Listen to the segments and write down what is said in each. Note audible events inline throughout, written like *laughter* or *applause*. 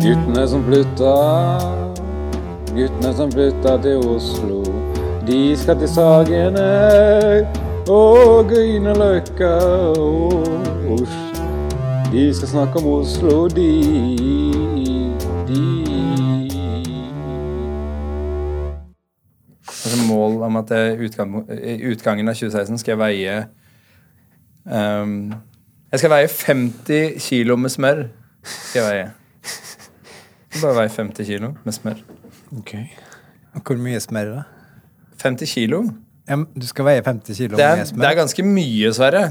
Guttene som flytta, guttene som flytta til Oslo. De skal til Sagene og Grünerløkka og Oslo. De skal snakke om Oslo, de. de. Altså mål om at jeg, utgang, i utgangen av 2016 skal jeg veie ehm, Jeg skal veie 50 kilo med smør. Skal jeg veie. Jeg skal Bare veie 50 kilo med smør. Ok. Hvor mye smør, da? 50 kilo? Ja, men Du skal veie 50 kilo Det er, med det er smør. ganske mye, Sverre.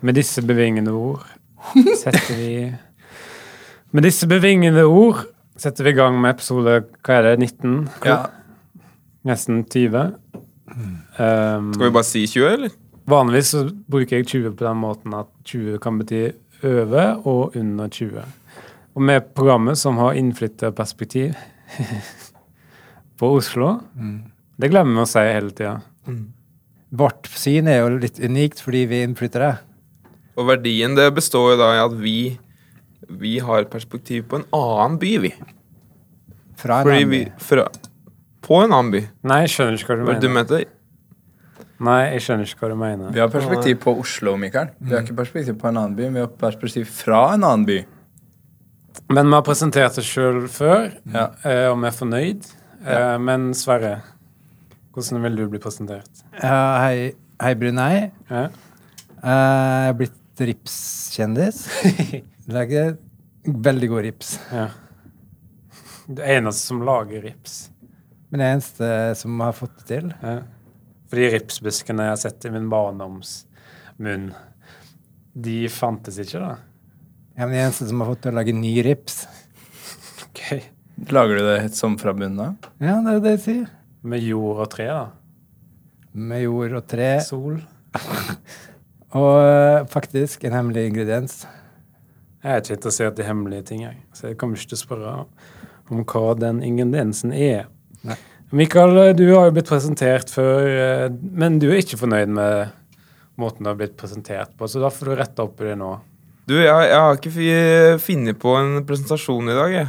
Med disse bevingende ord setter vi Med disse bevingende ord setter vi i gang med episode hva er det, 19? Ja. Nesten 20. Um, Skal vi bare si 20, eller? vanligvis så bruker jeg 20 på den måten at 20 kan bety over og under 20. Og med programmet som har innflytterperspektiv *laughs* på Oslo Mm. Det glemmer vi å si hele tida. Vårt syn er jo litt unikt fordi vi er innflyttere. Og verdien det består jo da i at vi, vi har perspektiv på en annen by, vi. Fra en Fordi annen vi by. fra, På en annen by. Nei, jeg skjønner ikke hva du Hva er det du mener. mente? Nei, jeg skjønner ikke hva du mener. Vi har perspektiv på Oslo, Mikael. Vi Mm. har ikke perspektiv på en annen by, vi har perspektiv fra en annen by. Men vi har presentert oss sjøl før, Ja. eh, og vi er fornøyd. Eh, Men Sverre, hvordan vil du bli presentert? Ja, hei, hei, Brunei. Ja. Eh, jeg er blitt *laughs* ripskjendis. Lager veldig god rips. ja. Det eneste som lager rips. Men jeg er eneste som har fått det til. Ja. For de ripsbuskene jeg har sett i min barndomsmunn, de fantes ikke, da. Jeg er den eneste som har fått til å lage ny rips. Ok. Lager du det helt som fra bunnen av? Ja, det er det jeg sier. Med jord og tre, da. Med jord og tre. Sol. Og eh, faktisk en hemmelig ingrediens. Jeg er ikke interessert i hemmelige ting, jeg. Så jeg kommer ikke til å spørre om hva den ingrediensen er. Nei. Mikael, du har jo blitt presentert før, eh, men du er ikke fornøyd med måten du har blitt presentert på, så da får du rette opp i det nå. Du, jeg, jeg har ikke fi- funnet på en presentasjon i dag, jeg.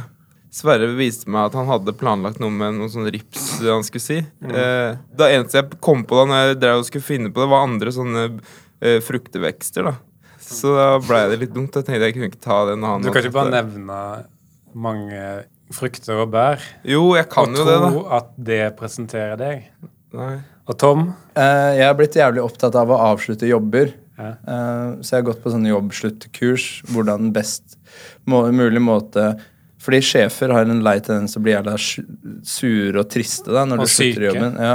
Sverre viste meg at han hadde planlagt noe med noe sånn rips det han skulle si. Mm. Eh, det eneste jeg kom på da når jeg drev og skulle finne på det, var andre sånne eh, fruktevekster, da. Så da blei det litt dumt. Jeg tenkte jeg kunne ikke ta det når han Du kan ikke hadde bare tatt det. nevne mange frukter og bær Jo, jeg kan og jo det, da. tro at det presenterer deg. Nei. Og Tom, Eh, jeg har blitt jævlig opptatt av å avslutte jobber. Ja. Eh, så jeg har gått på sånne jobbsluttkurs. Hvordan den best må, mulig måte Fordi sjefer har en lei tendens til å bli jævla sj- sure og triste da, når Og du slutter i syke. jobben. Ja,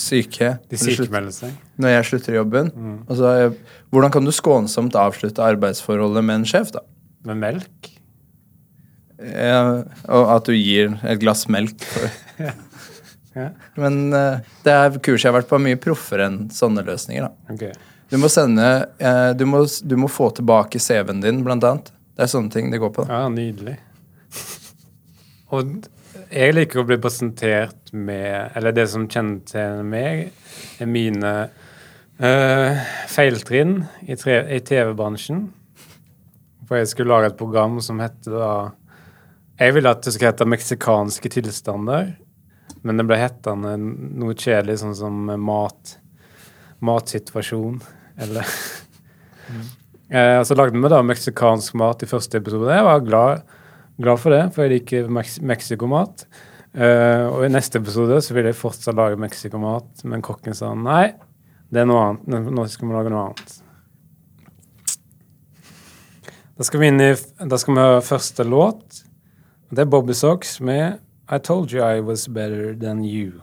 syke. de Mm. Når du slutter- sykemelder seg. når jeg slutter i jobben. Og så har jeg, hvordan kan du skånsomt avslutte arbeidsforholdet med en sjef, da? Med melk? Eh, og at du gir et glass melk. *laughs* For. Ja. Men eh, det er kurs jeg har vært på, mye proffere enn sånne løsninger. da. Ok. Du må sende eh, du, må, du må få tilbake CV-en din, blant annet. Det er sånne ting det går på. da. Ja, nydelig. Og d- jeg liker å bli presentert med Eller det som kjennetegner meg, er mine eh, feiltrinn i, tre- i TV-bransjen. For jeg skulle lage et program som hette da Jeg ville at det skulle hete 'Meksikanske tilstander', men det ble hettende noe kjedelig, sånn som mat. Matsituasjon, eller Eh, og så lagde vi da meksikansk mat i første episode. Jeg var glad, glad for det, for jeg liker meks meksikomat. Eh, og i neste episode så ville jeg fortsatt lage meksikomat, men kokken sa nei, det er noe annet. Nå- Nå skal vi lage noe annet. Da skal vi inn i, f- da skal vi høre første låt. Og Det er Bobby Socks med I Told You I Was Better Than You.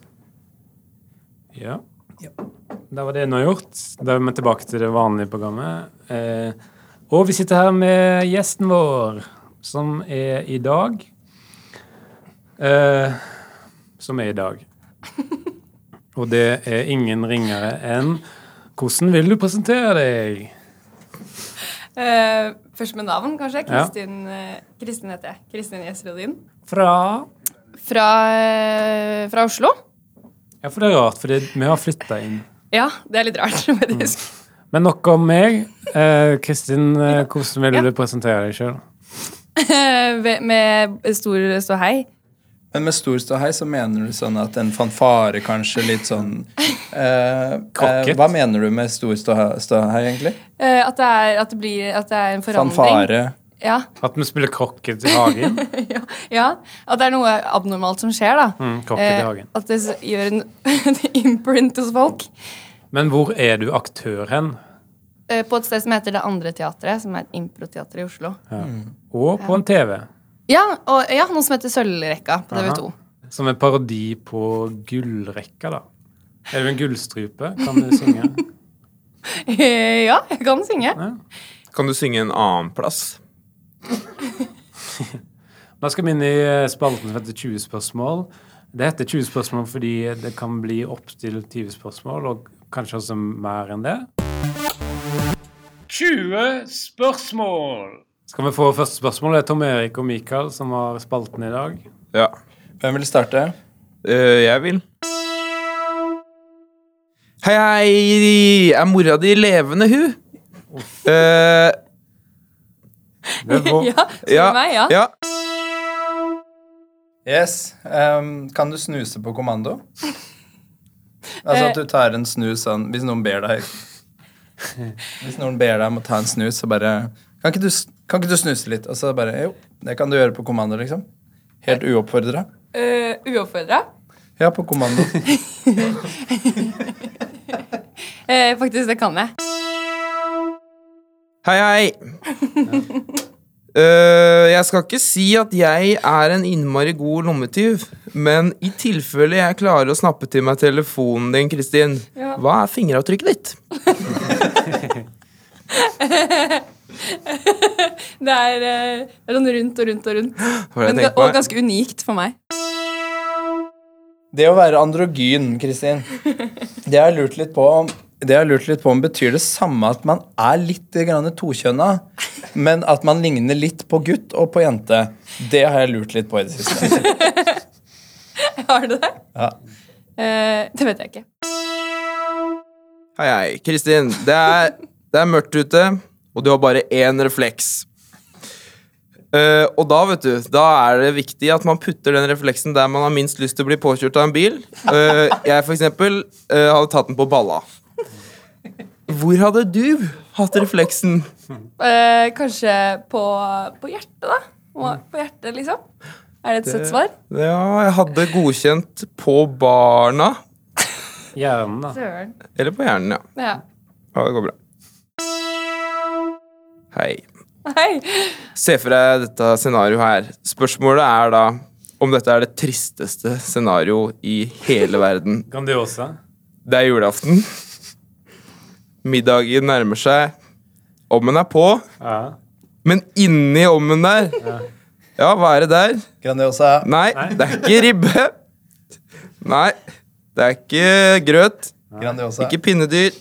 *laughs* ja. Da var det nå gjort. Da er vi tilbake til det vanlige programmet. Eh, Og vi sitter her med gjesten vår, som er i dag eh, Som er i *laughs* dag. Og det er ingen ringere enn Hvordan vil du presentere deg? Eh, først med navn, kanskje. Ja. Kristin, eh, Kristin heter jeg. Kristin Gjesrodin. Fra Fra, eh, fra Oslo. Ja, for det er rart, for vi har flytta inn. Ja, det er litt rart, *laughs* faktisk. Men nok om meg. Eh, Kristin, eh, hvordan vil du presentere deg sjøl? Mm. Eh, ved- med stor stå hei. Men med stor ståhei så mener du sånn at en fanfare kanskje litt sånn eh, eh, Krokket. Hva mener du med stor ståhe- ståhei, egentlig? Eh, at, det er, at, det blir, at det er en forandring. Fanfare. Ja, *laughs* At vi spiller krokket i hagen? ja, ja. At det er noe abnormalt som skjer, da. *laughs* Mm, krokket i Eh, hagen. at det s- gjør en *laughs* en imprint hos folk. Men hvor er du aktør hen? Eh, på et sted som heter Det Andre Teatret, som er et improteater i Oslo. Og på en TV. Ja, og, ja noe som heter Sølvrekka på TV 2. Som en parodi på gullrekka, da. Er du en gullstrupe? Kan du synge? *laughs* ja, jeg kan synge. Kan du synge en annen plass? Da skal vi inn i eh, spalten som heter 20 spørsmål. Det heter 20 spørsmål fordi det kan bli opptil 20 spørsmål, og kanskje også mer enn det. 20 spørsmål! Skal vi få første spørsmål? Det er Tom Erik og Mikael som har spalten i dag. Ja. Hvem vil starte? Eh, jeg vil. Hei, hei! Er mora di levende, hun? Eh, Det er vår- *laughs* Ja, spør ja, meg, ja. ja. Yes. ehm, kan du snuse på kommando? Altså at du tar en snus sånn Hvis noen ber deg Hvis noen ber deg om å ta en snus, så bare Kan ikke du, s- kan ikke du snuse litt? Og så bare Jo, det kan du gjøre på kommando, liksom. Helt uoppfordra. Uh, Uoppfordra. Ja, på kommando. Eh, faktisk, det kan jeg. Hei, hei. Eh, jeg skal ikke si at jeg er en innmari god lommetyv, men i tilfelle jeg klarer å snappe til meg telefonen din, Kristin, Ja. hva er fingeravtrykket ditt? Det er, eh, det er sånn rundt og rundt og rundt. Hva er Men, det ga- jeg tenker og på? ganske unikt for meg. *laughs* Det å være androgyn, Kristin, det har jeg lurt litt på om det jeg har lurt litt på om Betyr det samme at man er litt grann tokjønna, men at man ligner litt på gutt og på jente? Det har jeg lurt litt på i det siste. Har du det? Ja. Eh, det vet jeg ikke. Hei, hei. Kristin, det er, det er mørkt ute, og du har bare én refleks. Eh, og da, vet du, da er det viktig at man putter den refleksen der man har minst lyst til å bli påkjørt av en bil. Eh, jeg, for eksempel, eh, hadde tatt den på balla. Hvor hadde du hatt refleksen? Eh, kanskje på, på hjertet, da? Må- På hjertet, liksom? Er det et søtt svar? Ja, jeg hadde godkjent på barna. Hjernen, da. Søren. Eller på hjernen, ja. Ja. *laughs* Ja, det går bra. Hei. Hei. Se for deg dette scenarioet her. Spørsmålet er da om dette er det tristeste scenario i hele verden. Grandiosa. Det er julaften. Middagen nærmer seg. Ommen er på, Ja. men inni ommen der Ja, hva er det der? Grandiosa. Nei, det er ikke ribbe. Nei, det er ikke grøt. Grandiosa. Ikke pinnedyr.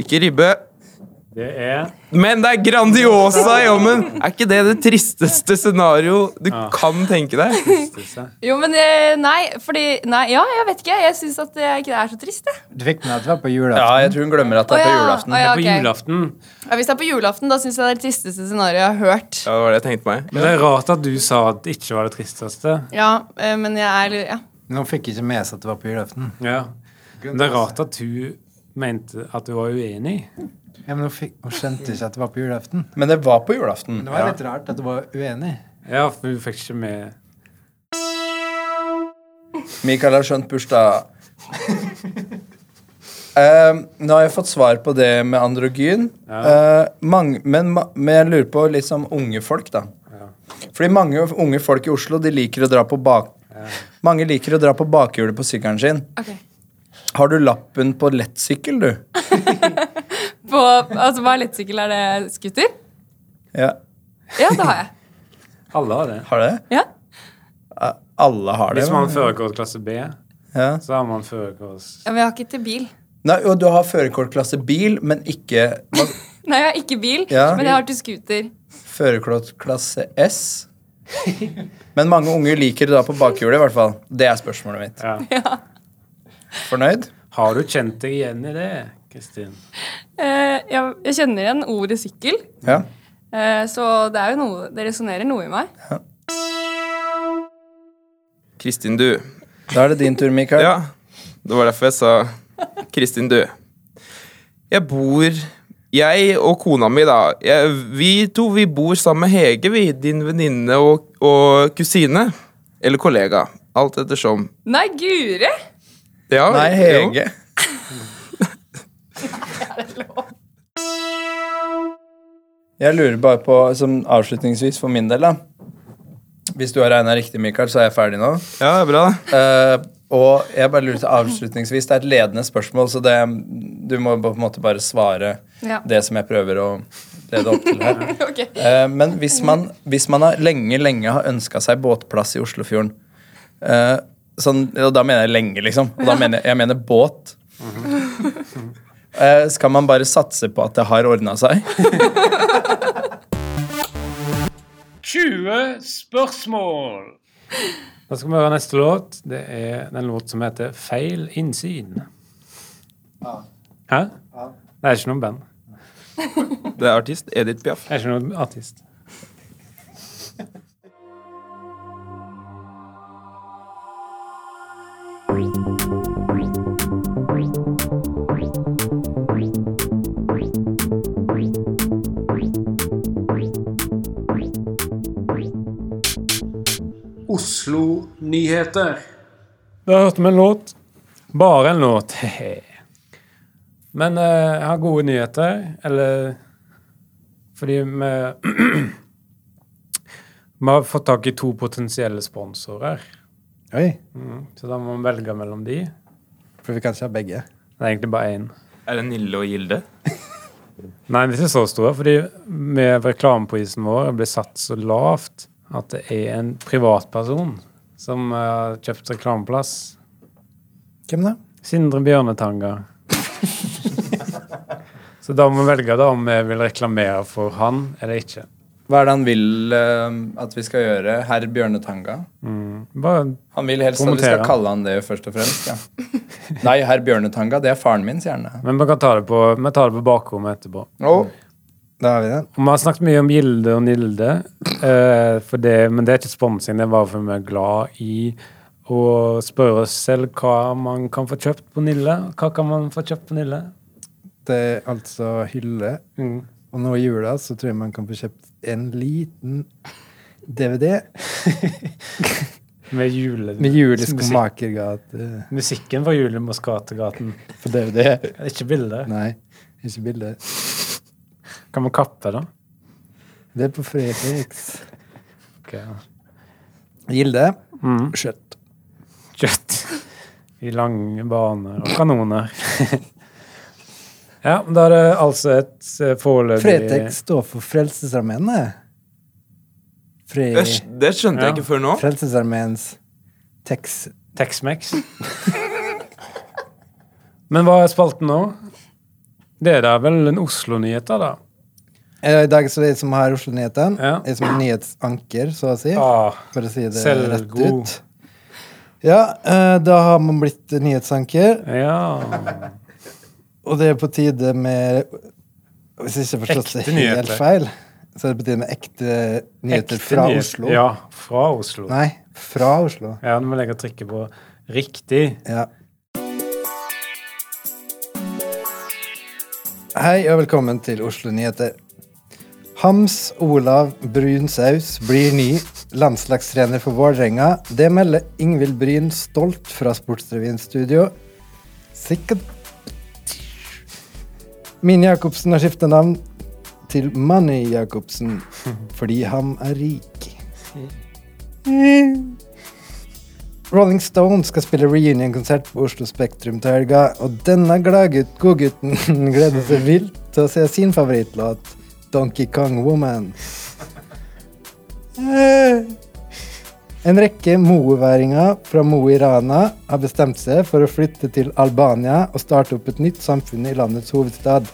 Ikke ribbe. Det er Men det er Grandiosa i ommen! Er ikke det det tristeste scenario du kan tenke deg? Jo, men eh, nei, fordi Nei, ja, jeg vet ikke. Jeg syns at det ikke er så trist, jeg. Du fikk med at det var på jula. Ja, jeg tror hun glemmer at det er på Å ja, julaften. å Det ja, er på ok. julaften. Ja, hvis det er på julaften, da syns jeg det er det tristeste scenarioet jeg har hørt. Ja, det var det jeg tenkte meg. Men det er rart at du sa at det ikke var det tristeste. Ja, eh, men jeg er litt- ja. Nå fikk jeg ikke med seg at det var på julaften. Ja. Men det er rart at du mente at du var uenig. Ja, men nå fikk, nå skjønte jeg ikke at det var på julaften. Men det var på julaften. Det var litt rart at du var uenig. Ja, for du fikk ikke med Mikael har skjønt *laughs* bursdag. Eh, nå har jeg fått svar på det med androgyn. Eh, mang, men, ma- men jeg lurer på litt sånn unge folk, da. Fordi mange unge folk i Oslo de liker å dra på bak... Mange liker å dra på bakhjulet på sykkelen sin. Ok. Har du lappen på lettsykkel, du? på Altså, hva lettsykkel er det, scooter? Ja. Ja, det har jeg. Alle har det. Har det? Ja. Alle har det. Hvis man men- har førerkort klasse B, ja. så har man førerkort ja men jeg har ikke til bil. Nei, og du har førerkortklasse bil, men *clears throat* ikke Nei, jeg har ikke bil, Ja. men jeg har til scooter. førerkortklasse S. Men mange unge liker det da på bakhjulet, i hvert fall. Det er spørsmålet mitt. Ja. Fornøyd? Har du kjent deg igjen i det, Kristin? Eh, jeg, jeg kjenner igjen ordet sykkel, Ja. eh, så det er jo noe Det resonnerer noe i meg. Kristin, du. Da er det din tur, Mikael. Ja, det var derfor jeg sa Kristin, du. Jeg bor Jeg og kona mi, da. Jeg, vi to vi bor sammen med Hege, vi. Din venninne og, og kusine. Eller kollega. Alt ettersom. Nei, guri! Ja, Nei, jo. Hege. Jeg lurer bare på, som avslutningsvis for min del, da Hvis du har regna riktig, Mikael, så er jeg ferdig nå. Ja, det er bra, da. Eh, og jeg bare lurer til avslutningsvis Det er et ledende spørsmål, så det, du må på en måte bare svare Ja. det som jeg prøver å lede opp til her. *laughs* Ok. Eh, men hvis man, hvis man har lenge, lenge har ønska seg båtplass i Oslofjorden eh, sånn, Og da mener jeg lenge, liksom. Og da mener jeg, jeg mener båt. Eh, skal man bare satse på at det har ordna seg? 20 spørsmål. Da skal vi høre neste låt. Det er den låt som heter Feil innsyn. Hæ? Det er ikke noe band. Det er artist Edith Piaf. Det er ikke noen artist. Oslo nyheter. Da hørte vi en låt. Bare en låt. *laughs* Men eh, jeg har gode nyheter, eller Fordi vi *clears throat* Vi har fått tak i to potensielle sponsorer. Oi. Så da må vi velge mellom de. Det For vi kan ikke ha begge. er egentlig bare én. Er det Nille og Gilde? Nei, vi er ikke så store, fordi med reklameprisen vår ble satt så lavt at det er en privatperson som eh, har kjøpt reklameplass. Hvem da? Sindre Bjørnetanga. så da må vi velge da om vi vil reklamere for han eller ikke. Hva er det han vil eh, at vi skal gjøre, herr Bjørnetanga? Bare, Han vil helst at vi Promotere skal han. kalle han det først og fremst. Ja. Nei, herr Bjørnetanga, det er faren min, sier han. da. men vi kan ta det på, vi tar det på bakrommet etterpå. Å, Da har vi den. Og vi har snakket mye om Gilde og Nilde, eh, for det, men det er ikke sponsing. Det er bare for vi er glad i å spørre oss selv hva man kan få kjøpt på Nille. Hva kan man få kjøpt på Nille? Det er altså hylle. Mm. Og nå i jula så tror jeg man kan få kjøpt en liten DVD Med jule... med juleskomakergate Musikken fra Jule Moskategaten. på DVD. Ikke bildet. Nei, ikke bilde. Kan man kappe, da? Det er på Fretex. Ok, ja. Gilde. Mm. Skjøtt. Kjøtt i lange baner og *laughs* kanoner. ja, men da er det altså et eh, foreløpig Fretex står for Frelsesarmeen, det. Fre... Det, det skjønte Ja. jeg ikke før nå. Frelsesarmeens Tex Tex-Mex. Men hva er spalten nå? Det er da vel en Oslo-nyhet, da? Eh, I dag så er jeg som har Oslo-nyheten. Ja. Jeg som er nyhetsanker, så å si. Ah, For å si det rett selvgod. ut. Ja, eh, da har man blitt nyhetsanker, ja. og det er på tide med Hvis jeg ikke har forstått det Ekte helt nyheter. feil, så er det på tide med ekte nyheter Ekte fra nyhet. Oslo. Ja, fra Oslo. Nei, fra Oslo. Ja, nå må jeg legge trykket på riktig. Ja. Hei og velkommen til Oslo Nyheter. Hams Olav Brunsaus blir ny landslagstrener for Vålerenga. Det melder Ingvild Bryn stolt fra Sportsrevyens studio. Sikkert Min Jacobsen har skifta navn til Manny Jacobsen fordi han er rik. Rolling Stone skal spille reunion-konsert på Oslo Spektrum til helga, og denne gladgutt- godgutten *laughs* gleder seg vilt til å se sin favorittlåt, Donkey Kong Woman. Eh. En rekke moværinger fra Mo i Rana har bestemt seg for å flytte til Albania og starte opp et nytt samfunn i landets hovedstad.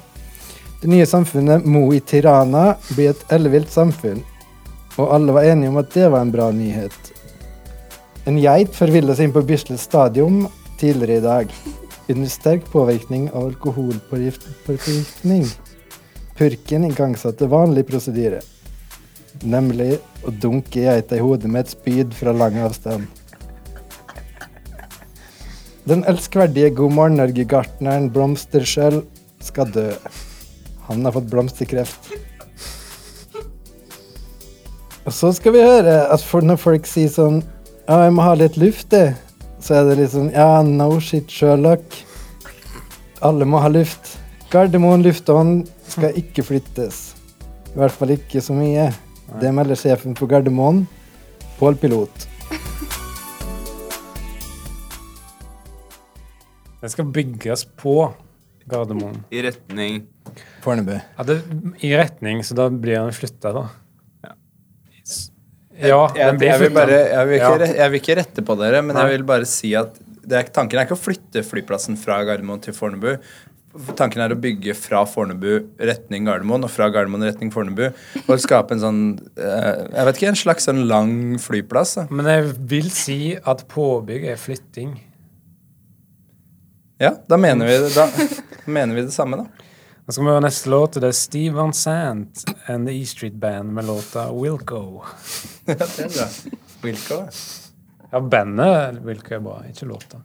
Det nye samfunnet Mo i Tirana blir et ellevilt samfunn, og alle var enige om at det var en bra nyhet. En geit forvillet seg inn på Bislett stadion tidligere i dag, under sterk påvirkning av alkoholpåvirkning. Purken igangsatte vanlig prosedyre, nemlig å dunke geita i hodet med et spyd fra lang avstand. Den elskverdige God morgen Norge-gartneren Blomsterskjell skal dø. Han har fått blomsterkreft. Og så skal vi høre at for når folk sier sånn Ja, jeg må ha litt luft, jeg. Så er det litt sånn Ja, no shit, Sherlock. Alle må ha luft. Gardermoen lufthavn skal ikke flyttes. I hvert fall ikke så mye. Det melder sjefen på Gardermoen, Pål Pilot. Den skal bygges på Gardermoen. I retning Fornebu. Ja, det, I retning, så da blir den flytta, da. S- Ja, den Jeg, blir jeg, vil flyttet. bare, jeg, vil ikke, Ja. re- jeg vil ikke rette på dere, men Nei. jeg vil bare si at det er, tanken er ikke å flytte flyplassen fra Gardermoen til Fornebu. Tanken er å bygge fra Fornebu retning Gardermoen og fra Gardermoen retning Fornebu. Og skape en sånn eh, Jeg vet ikke, en slags sånn lang flyplass. Da. Men jeg vil si at påbygg er flytting. Ja, da mener, vi, det- da mener vi det samme, da. Nå skal vi høre neste låt, og det er Steve Van Sant and The E Street Band med låta Wilco. Ja, det er bra. Wilco, da. Ja, bandet Wilco er bra, ikke låta.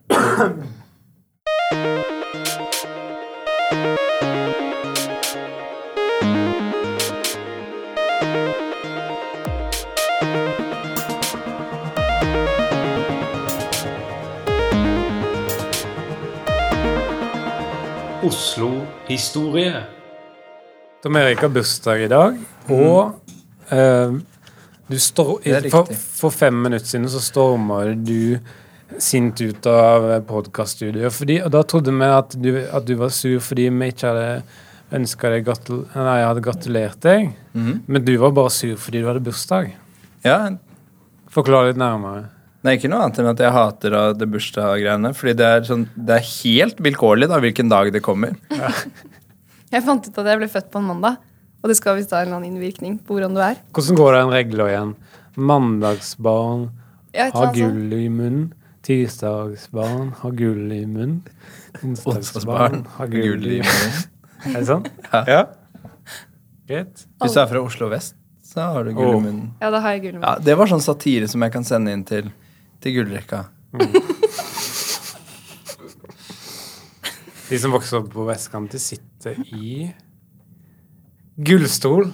Oslo-historie. Tom Erik har bursdag i dag, og eh, du står, Mhm. Det er for, riktig. for fem minutter siden så storma du sint ut av podkaststudioet. fordi- Og da trodde vi at du, at du var sur fordi vi ikke hadde ønska deg gratul Nei, jeg hadde gratulert deg, Mhm. men du var bare sur fordi du hadde bursdag. Ja, Forklar litt nærmere. Nei, ikke noe annet enn at jeg hater av det bursdaggreiene. Fordi det er, sånn, det er helt vilkårlig da, hvilken dag det kommer. Jeg fant ut at jeg ble født på en mandag, og det skal visst ha en eller annen innvirkning på hvordan du er. Hvordan går den regla igjen? Mandagsbarn Ja, et eller har annet sånt. gull i munnen. Tirsdagsbarn har gull i munnen. Onsdagsbarn Onsdagsbarn har gull i munnen. Er det sånn? Ja. Greit. Hvis du er fra Oslo vest, så har du gull i Åh. munnen. Ja, da har jeg gull i Ja, munnen. det var sånn satire som jeg kan sende inn til, til gullrekka. De som vokser opp på vestkant, de sitter i gullstol.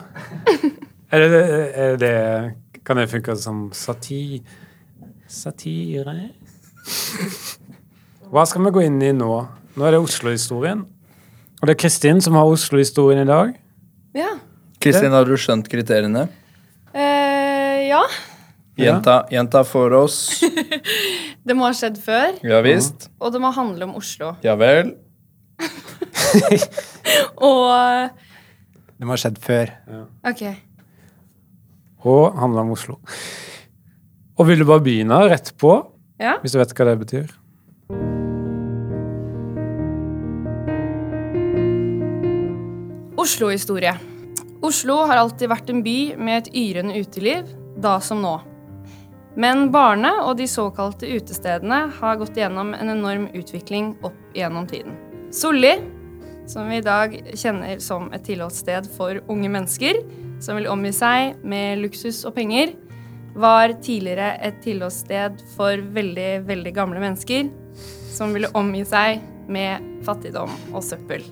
Er det, er det Kan det funke som sati... Satire? Hva skal vi gå inn i nå? Nå er det Oslo-historien. Og det er Kristin som har Oslo-historien i dag. Ja. Kristin, har du skjønt kriteriene? Eh, ja. Jenta, jenta for oss. Det må ha skjedd før, Ja visst. og det må handle om Oslo. Ja vel. Og Det må ha skjedd før. Ok. Og handler om Oslo. Og vil du bare begynne rett på, Ja. hvis du vet hva det betyr? Oslo-historie. Oslo har alltid vært en by med et yrende uteliv, da som nå. Men barene og de såkalte utestedene har gått gjennom en enorm utvikling opp gjennom tiden. Solli, som vi i dag kjenner som et tilholdssted for unge mennesker som vil omgi seg med luksus og penger, var tidligere et tilholdssted for veldig, veldig gamle mennesker som ville omgi seg med fattigdom og søppel.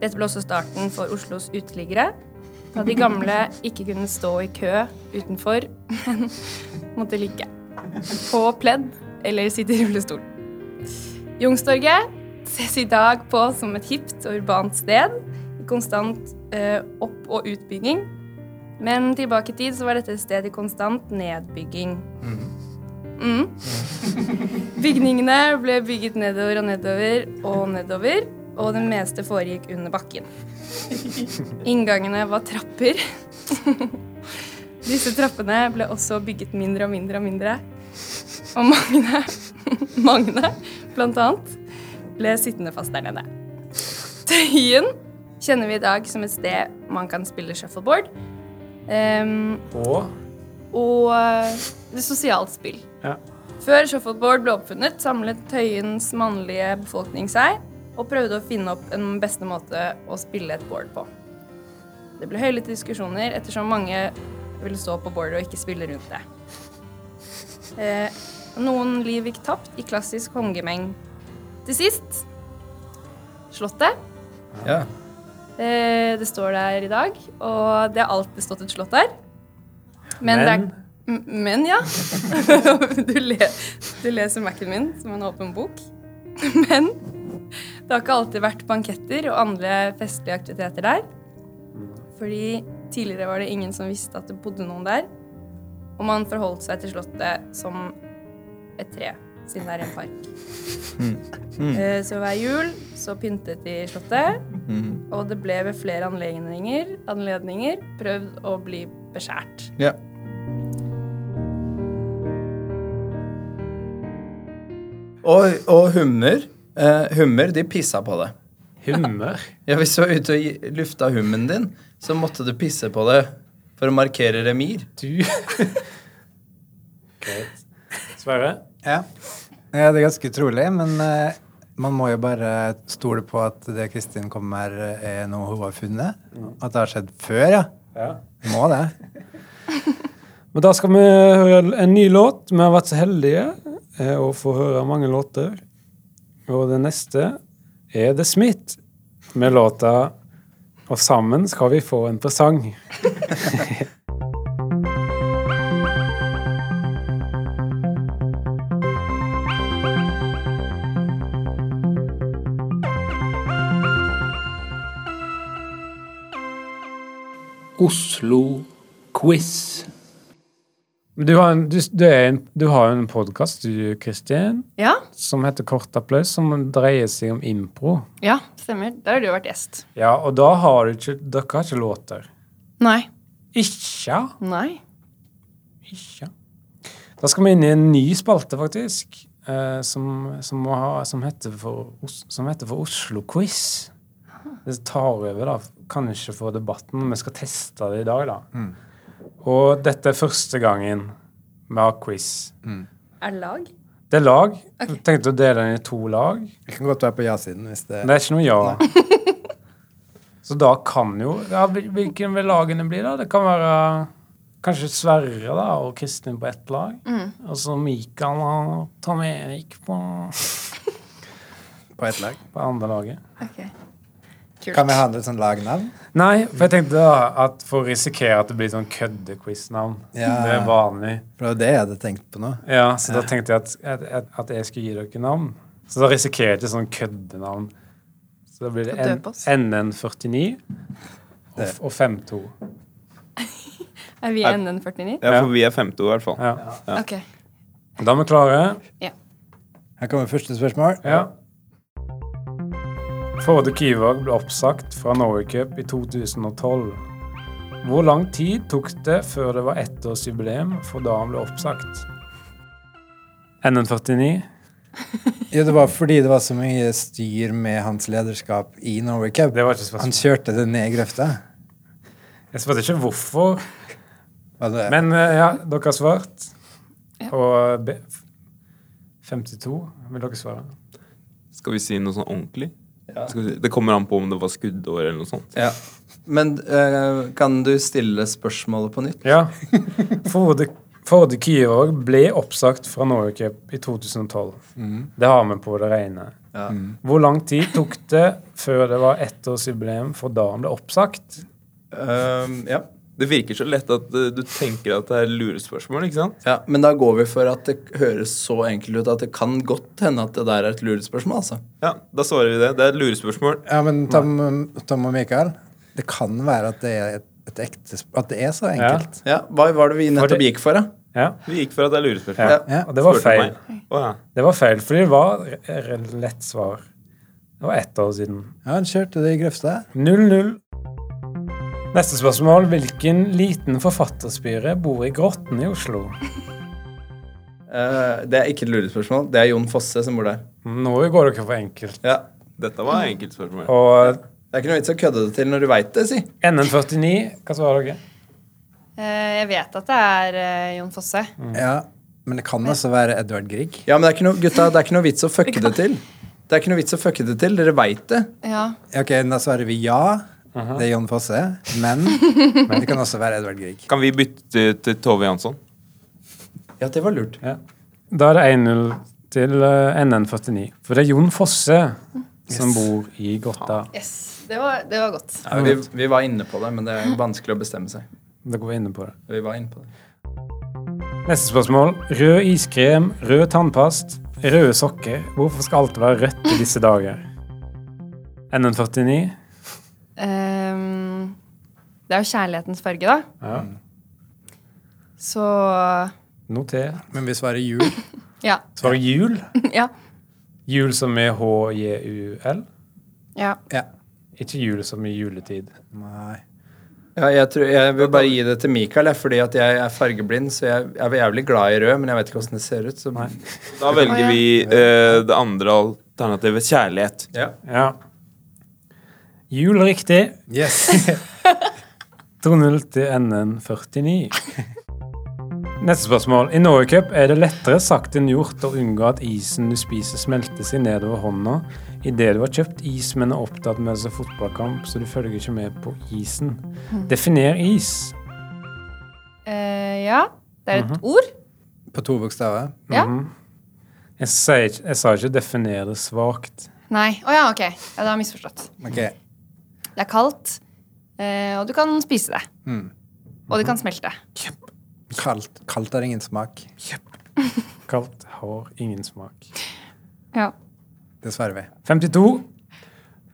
Dette ble også starten for Oslos uteliggere, da de gamle ikke kunne stå i kø utenfor, men måtte ligge på pledd eller sitte i rullestol. Youngstorget ses i dag på som et hipt og urbant sted, i konstant eh, opp- og utbygging. Men tilbake i tid så var dette et sted i konstant nedbygging. Mm. Bygningene ble bygget nedover og nedover og nedover. og det meste foregikk under bakken. Inngangene var trapper. Disse trappene ble også bygget mindre og mindre og mindre. Og Magne, Magne blant annet, ble sittende fast der nede. Tøyen kjenner vi i dag som et sted man kan spille shuffleboard. Ehm, Og og eh, det er sosialt spill. Ja. Før shuffleboard ble oppfunnet, samlet Tøyens mannlige befolkning seg og prøvde å finne opp en beste måte å spille et board på. Det ble høylytte diskusjoner ettersom mange ville stå på boardet og ikke spille rundt det. Eh, noen liv gikk tapt i klassisk håndgemeng. Til sist Slottet. Ja. Eh, det står der i dag, og det har alltid stått et slott der. Men, det Men? er M- Men, ja. *laughs* du, le, du leser Mac-en min som en åpen bok. *laughs* Men det har ikke alltid vært banketter og andre festlige aktiviteter der. Fordi tidligere var det ingen som visste at det bodde noen der. Og man forholdt seg til slottet som et tre, siden det er en park. Eh, Så hver jul så pyntet de slottet, og det ble ved flere anledninger, anledninger prøvd å bli beskjært. ja. Og, og hummer eh, Hummer, de pissa på det. hummer. Ja, Hvis du var ute og gi- lufta hummen din, så måtte du pisse på det for å markere remir. Du Greit. Sverre? Ja. Ja, det er ganske utrolig, men eh, man må jo bare stole på at det Kristin kommer med, er noe hun har funnet. At det har skjedd før, Mm. ja. Ja. Må det. Men da skal vi høre en ny låt. Vi har vært så heldige eh, å få høre mange låter. Og den neste er The Smith med låta 'Og sammen skal vi få en presang'. Oslo-quiz. Men Du har en, du, du er en, du har en podkast, du, Kristin, Ja, som heter Kort applaus, som dreier seg om impro. ja, stemmer. Der har du vært gjest. Ja, og da har du ikke Dere har ikke låter. Nei. Ikke? Nei. Ikke. Da skal vi inn i en ny spalte, faktisk, eh, som, som, må ha, som heter for, Os- som heter for Oslo Quiz. Det tar over, da, kanskje for debatten. men Vi skal teste det i dag, da. Og dette er første gangen vi har quiz. Er det lag? Det er lag. Jeg tenkte å dele den i to lag. Det kan godt være på ja-siden hvis det Men det er ikke noe ja. Så da kan jo ja, hvil- Hvilken vil lagene bli, da? Det kan være kanskje Sverre da, og Kristin på ett lag. Og så Mikael og Tom Erik på, på ett lag. på andre laget. Ok. Kult. Kan vi ha sånn et sånt lagnavn? Nei, for jeg tenkte da at for å risikere at det blir sånn kødde-quiz-navn. Ja. Det er vanlig. For det var det jeg hadde tenkt på nå. Ja, Så da tenkte jeg at, at, at- at jeg skulle gi dere navn. Så da risikerer jeg ikke sånn køddenavn. Så da blir det Skal N- døpe oss. NN49 og, f- og 52. Er vi NN49? Ja, for vi er femte i hvert fall. Ja. Ok. Da er vi klare. Her kommer første spørsmål. Ja. Frode Kyvåg ble oppsagt fra Norway Cup i 2012. Hvor lang tid tok det før det var ettårsjubileum for da han ble oppsagt? NN49. Jo, det var fordi det var så mye styr med hans lederskap i Norway Cup. Det var ikke Han spørsmål. kjørte det ned i grøfta. Jeg spurte ikke hvorfor, Var det- men eh, ja, dere har svart. Og B 52 vil dere svare. Skal vi si noe sånn ordentlig? Skal vi si, det kommer an på om det var skuddår eller noe sånt. Ja. Men eh, kan du stille spørsmålet på nytt? Ja. Frode, Frode Kyvåg ble oppsagt fra Norway Cup i 2012. Det har vi på det rene. Ja. Hvor lang tid tok det før det var ettårsjubileum for da han ble oppsagt? Ehm, ja. Det virker så lett at eh, du tenker at det er lurespørsmål, ikke sant? ja. Men da går vi for at det høres så enkelt ut at det kan godt hende at det der er et lurespørsmål, altså. Ja, da svarer vi det. Det er et lurespørsmål. Ja, men Tom, Tom og Mikael, det kan være at det er, et, et ekte, sp- at det er så enkelt. Ja, Hva var det vi nettopp det- gikk for, da? Ja, Vi gikk for at det er lurespørsmål. ja. Ja. Og det var Spurte feil. meg. Å, ja. Det var feil, for det var et lett svar. Det var ett år siden. Ja, han kjørte det i Grøfstad. 0-0. Neste spørsmål. Hvilken liten forfatterspire bor i Grotten i Oslo? Eh, det er ikke et lurespørsmål. Det er Jon Fosse som bor der. Nå går dere for enkelt. Ja. Dette var enkelt spørsmål. Og Det er ikke noe vits å kødde det til når du veit det, si. NN49, hva svarer dere? Eh, jeg vet at det er eh, Jon Fosse. Mm. Ja, men det kan altså være Edvard Grieg. Ja, men det er ikke noe, gutta, det er ikke noe vits å fucke det til. Det er ikke noe vits å fucke det til. Dere veit det. Ja. Ja, Ok, da svarer vi ja. Det er Jon Fosse. Men det kan også være Edvard Grieg. Kan vi bytte til Tove Jansson? Ja, det var lurt. Da er det 1-0 til eh, NN49. For det er Jon Fosse som bor i grotta. Yes. Det var, det var godt. Ja, vi, vi var inne på det, men det er vanskelig å bestemme seg. Dere var inne på det. Vi var inne på det. Neste spørsmål. Rød iskrem, rød tannpast, røde sokker. Hvorfor skal alt være rødt i disse dager? NN49. Ehm, det er jo kjærlighetens farge, da. Ja. Så Noter. Men vi svarer jul. ja. *laughs* Så var det jul. ja. Jul som i H-J-U-L. ja. Ikke jul som i juletid. Nei. Ja, jeg, tror, jeg vil bare gi det til Mikael, jeg, fordi at jeg er fargeblind. Så jeg, jeg er jævlig glad i rød, men jeg vet ikke åssen det ser ut. Så Da velger vi eh, det andre alternativet kjærlighet. ja. Ja. Jul riktig. *laughs* Yes. 2-0 til NN49. Neste spørsmål. I Norway Cup er det lettere sagt enn gjort å unngå at isen du spiser, smelter seg nedover hånda idet du har kjøpt is, men er opptatt med å se fotballkamp, så du følger ikke med på isen. Definer is. Eh, ja. Det er et ord. På to bokstaver. Ja. Jeg, sier ikke, jeg sa ikke 'definer det svakt'. Nei. Å ja, ok. Ja, det var misforstått. Ok. Det er kaldt, eh, og du kan spise det. Og det kan smelte. Kaldt, kaldt har ingen smak. Kaldt har ingen smak. Ja. Det svarer vi. 52.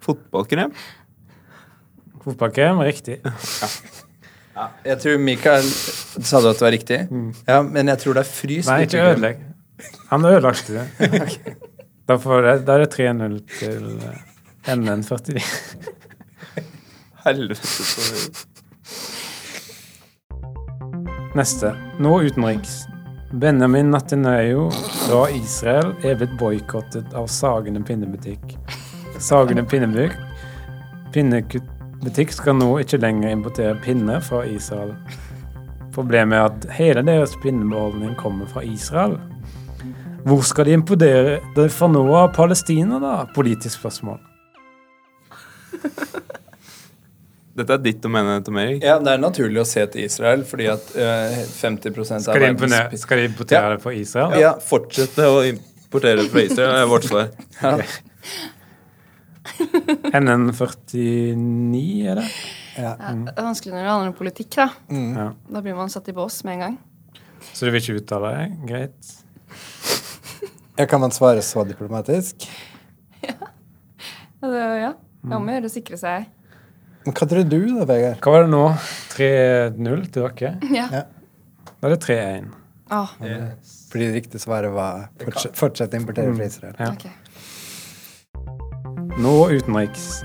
Fotballkrem? Fotballkrem. Riktig. Jeg tror Mikael Sa du at det var riktig? Ja, men jeg tror det er frys. Nei, ikke ødelegg. Han ødelagte *laughs* det. Da, får jeg, da er det 3-0 til eh, NN49. Helvete. så- Neste. Nå utenriks. Benjamin Netanyahu fra Israel er blitt boikottet av Sagene pinnebutikk. Sagene pinnebutikk Pinnekuttbutikk skal nå ikke lenger importere pinner fra Israel. Problemet er at hele deres pinnebeholdning kommer fra Israel. Hvor skal de importere det fra nå av Palestina, da? Politisk spørsmål. Dette er ditt domene, Tom Erik. Ja, det er naturlig å se til Israel, fordi at eh, 50 av Skal de, verdens impone- skal de importere det fra Israel? Ja, Fortsette å importere fra Israel er vårt svar. NN49, er det? Det er vanskelig når det handler om politikk, da. Ja. Da blir man satt i bås med en gang. Så du vil ikke uttale det? Greit. Ja, kan man svare så diplomatisk? Ja, det, ja. Det er om å gjøre å sikre seg. Men hva tror du da, Vegard? Hva var det nå? 3-0 til dere? Ja. Ja. Nå er det 3-1. Åh, Fordi det riktige svaret var fortsett, fortsett å importere fra Israel. Ja. ok. Nå utenriks.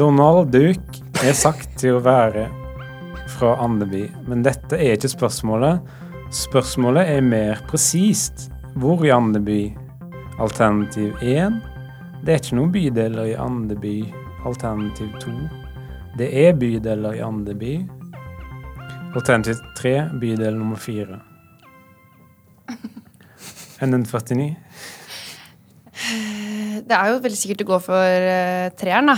Donald Duck er sagt til å være fra Andeby, men dette er ikke spørsmålet. Spørsmålet er mer presist. Hvor i Andeby? Alternativ 1. Det er ikke noen bydeler i Andeby. Alternativ 2. Det er bydeler i Andeby. Alternativ 3. Bydel nummer 4. NN49. Det er jo veldig sikkert å gå for eh, treeren, da.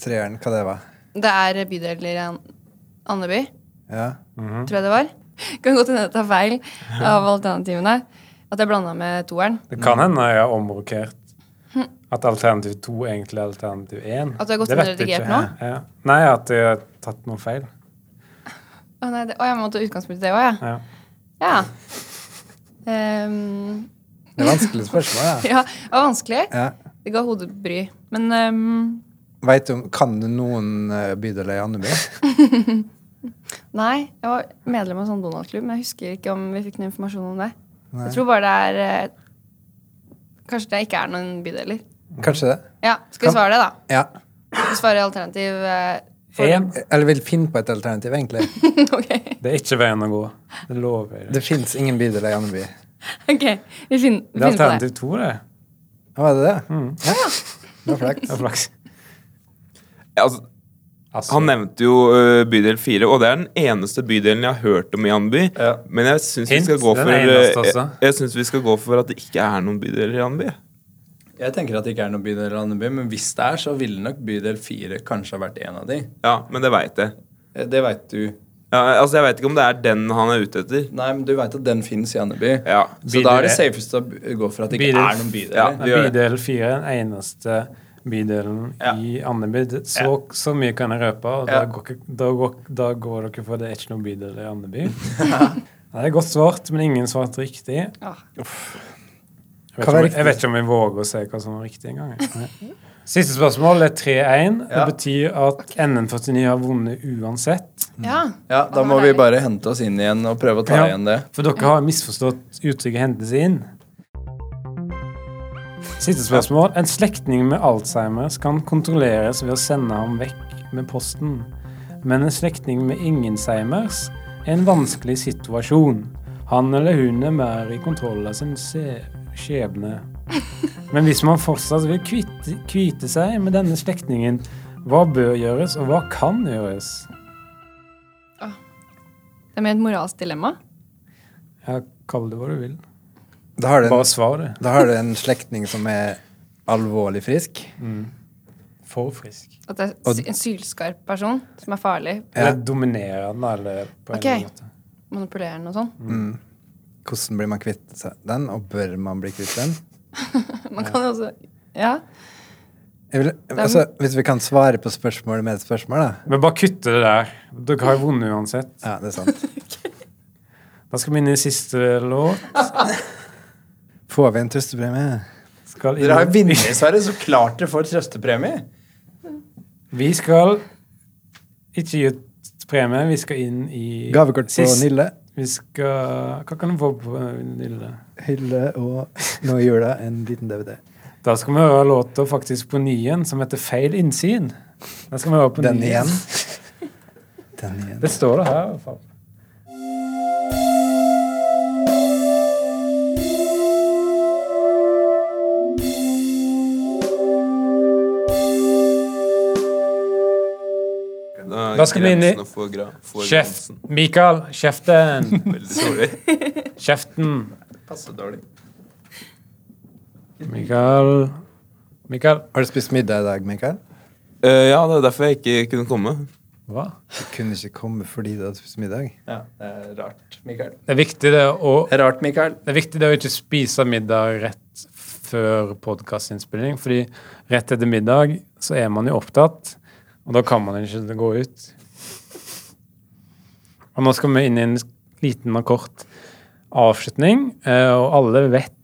Treeren, hva det var? Det er bydeler i An- Andeby, Ja. tror jeg det var. Kan godt hende jeg tar feil av alternativene. At jeg blanda med toeren. Det kan hende jeg har omrokert at alternativ 2 egentlig er alternativ 1. At du har gått inn og redigert nå? Ja. Nei, at jeg har tatt noe feil. Å nei, det, å, jeg må ta utgangspunkt i det òg, Ja. ja. ja. Ehm, Det er vanskelig spørsmål, *laughs* ja. ja, det var vanskelig. ja. Det ga hodebry. Men ehm, Vet du, kan du noen eh, bydeler i Andeby? Nei, jeg var medlem av en sånn Donald-klubb, men jeg husker ikke om vi fikk noe informasjon om det. Nei. Jeg tror bare det er eh, Kanskje det ikke er noen bydeler. Kanskje det. Ja, skal vi svare det, da? Ja. Skal vi svare alternativ eh, *laughs* for- Én. Eller vil finne på et alternativ, egentlig. Ok. Det er ikke veien å gå. Det lover jeg. Det fins ingen bydeler i Andeby. ok, Det er vi finner, vi finner på det. alternativ to, det. Var det det? Ja. Det var flaks. Det er flaks. Ja, altså, Altså, han nevnte jo ø, bydel 4, og det er den eneste bydelen jeg har hørt om i Andby. Men jeg syns vi, Hint, skal gå den for, ø, eneste også. jeg, jeg synes vi skal gå for at det ikke er noen bydeler i Andby. Jeg tenker at det ikke er noen bydel i Andeby, men hvis det er, så ville nok bydel 4 kanskje ha vært en av de. Ja, men det veit jeg. Eh, Det veit du. Ja, altså, jeg veit ikke om det er den han er ute etter. Nei, men du veit at den fins i Andeby. Ja. Så da er det safest å b- gå for at det ikke Bydel- er noen Ja, bydeler. vi gjør det. Bydel 4 er den eneste bydelen i Andeby. Det- Så, så mye kan jeg røpe, og da, Ja. går, ikke- da, går, da går dere for det er ikke noen bydel i *laughs* Andeby. Ja, det er godt svart, men ingen svarte riktig. Jeg Åh. vet, Hva ikke var om, riktig? jeg vet ikke om jeg våger å se hva som var riktig engang. jeg. Siste spørsmål er 3-1. Det betyr at NM49 har vunnet uansett. Ja. Ja, Da må vi bare hente oss inn igjen og prøve å ta Ja. igjen det. For dere har misforstått uttrykket 'hentes inn'. Siste spørsmål. En slektning med Alzheimers kan kontrolleres ved å sende ham vekk med posten. Men en slektning med ingenseimers er en vanskelig situasjon. Han eller hun er mer i kontroll av sin se- skjebne. Men hvis man fortsatt vil kvitte, kvite seg med denne slektningen, hva bør gjøres, og hva kan gjøres? Det er med et moralsk dilemma. Ja, kall det hva du vil. Da har du Bare en, svar, det. da har du en slektning som er alvorlig frisk. For frisk. At det er Og- sy- en sylskarp person som er farlig, Ja. Eller dominerende, eller på en Ok. eller annen måte. manipulerende og sånn. Hvordan blir man kvitt seg den, og bør man bli kvitt den? Man kan jo også Ja. Jeg vil, altså, hvis vi kan svare på spørsmålet med et spørsmål, da. Men bare kutte det der. Dere har jo vunnet uansett. Ja, det er sant. Da skal vi inn i siste låt. Får vi en trøstepremie? Skal Dere *laughs* har jo inn... vunnet, Sverre, så klart dere får trøstepremie. Vi skal ikke gi ut premie, vi skal inn i Gavekort på Sist- Nille. Vi skal Hva kan du få på eh, Nille? Hylle og nå i jula en liten DVD. Da skal vi høre låta faktisk på nyen, som heter Feil innsyn. Da skal vi høre på Den nyen. igjen. Den igjen. Det står det her, i hvert fall. Da skal vi inn i- Kjeft! Mikael, kjeften! Veldig dårlig. *laughs* Kjeften! Passe dårlig. Mikael Mikael, Har du spist middag i dag, Mikael? Eh, ja, det er derfor jeg ikke kunne komme. hva? Du kunne ikke komme fordi du hadde spist middag. Ja, det er rart, Mikael. Det er viktig det å, Det er rart, Mikael. det er viktig det å ikke spise middag rett før podkastinnspilling, fordi rett etter middag så er man jo opptatt, og da kan man ikke gå ut. Og nå skal vi inn i en liten og kort avslutning, eh, og alle vet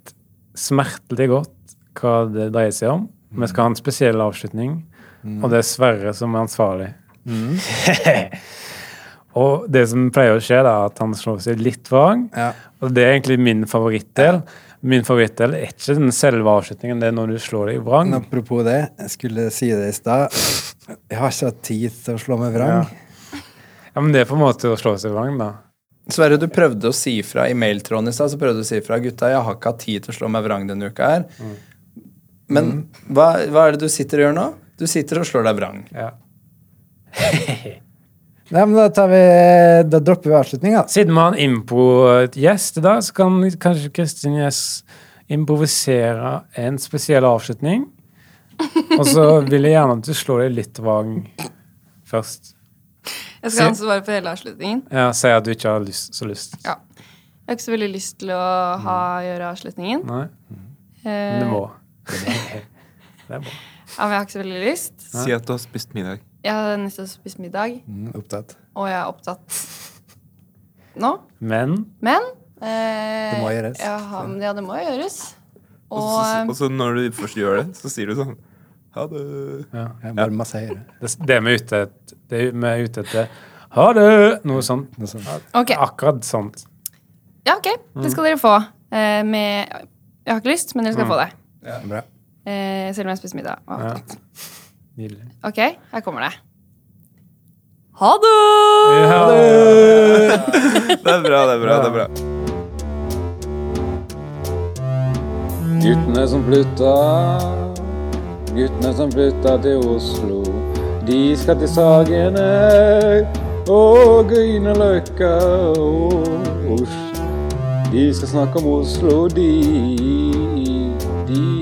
smertelig godt hva det dreier seg om. Vi skal ha en spesiell avslutning, og det er Sverre som er ansvarlig. *laughs* og det som pleier å skje, da, er at han slår seg litt vrang. Ja. Og det er egentlig min favorittdel. Min favorittdel er ikke den selve avslutningen, det er når du slår deg vrang. Men apropos det, jeg skulle si det i stad. Jeg har ikke hatt tid til å slå meg vrang. Ja, men det er på en måte å slå seg vrang, da. Sverre, du prøvde å si fra i mailtråden i stad. Så prøvde du å si fra gutta, jeg har ikke hatt tid til å slå meg vrang denne uka her. Men hva, hva er det du sitter og gjør nå? Du sitter og slår deg vrang. Ja. Nei, men da, tar vi, da dropper vi avslutninga. Siden vi har en impro-gjest i dag, så kan kanskje Kristin Gjess improvisere en spesiell avslutning. Og så vil jeg gjerne at du slår deg litt vrang først. Jeg Se- skal ansvare for hele avslutningen. Ja, Si at du ikke har lyst, så lyst. Ja. Jeg har ikke så veldig lyst til å ha, gjøre avslutningen. Nei, Eh, men du *laughs* må. ja, men jeg har ikke så veldig lyst. Si at du har spist middag. Jeg har nettopp spist middag, Mm, opptatt. og jeg er opptatt nå. Men Men eh, Det må gjøres. Jeg har, ja, det må gjøres. Og så- Og og så når du først gjør det, så sier du sånn Ha det. Jeg var masse høyere. det, det vi er ute et- det vi er ute etter Ha det! Noe sånt. Noe sånt. OK. Akkurat sånt. Ja, ok. Det skal dere få. Eh, med Jeg har ikke lyst, men dere skal få det. Bra. Eh, selv om jeg spiser middag. Og- Ja. Nydelig. Ok, her kommer det. Ha det! Ja. Det er bra, det er bra. det er bra. Guttene som flytta, guttene som flytta til Oslo. De skal til Sagene og Grünerløkka og Os- De skal snakke om Oslo, de. De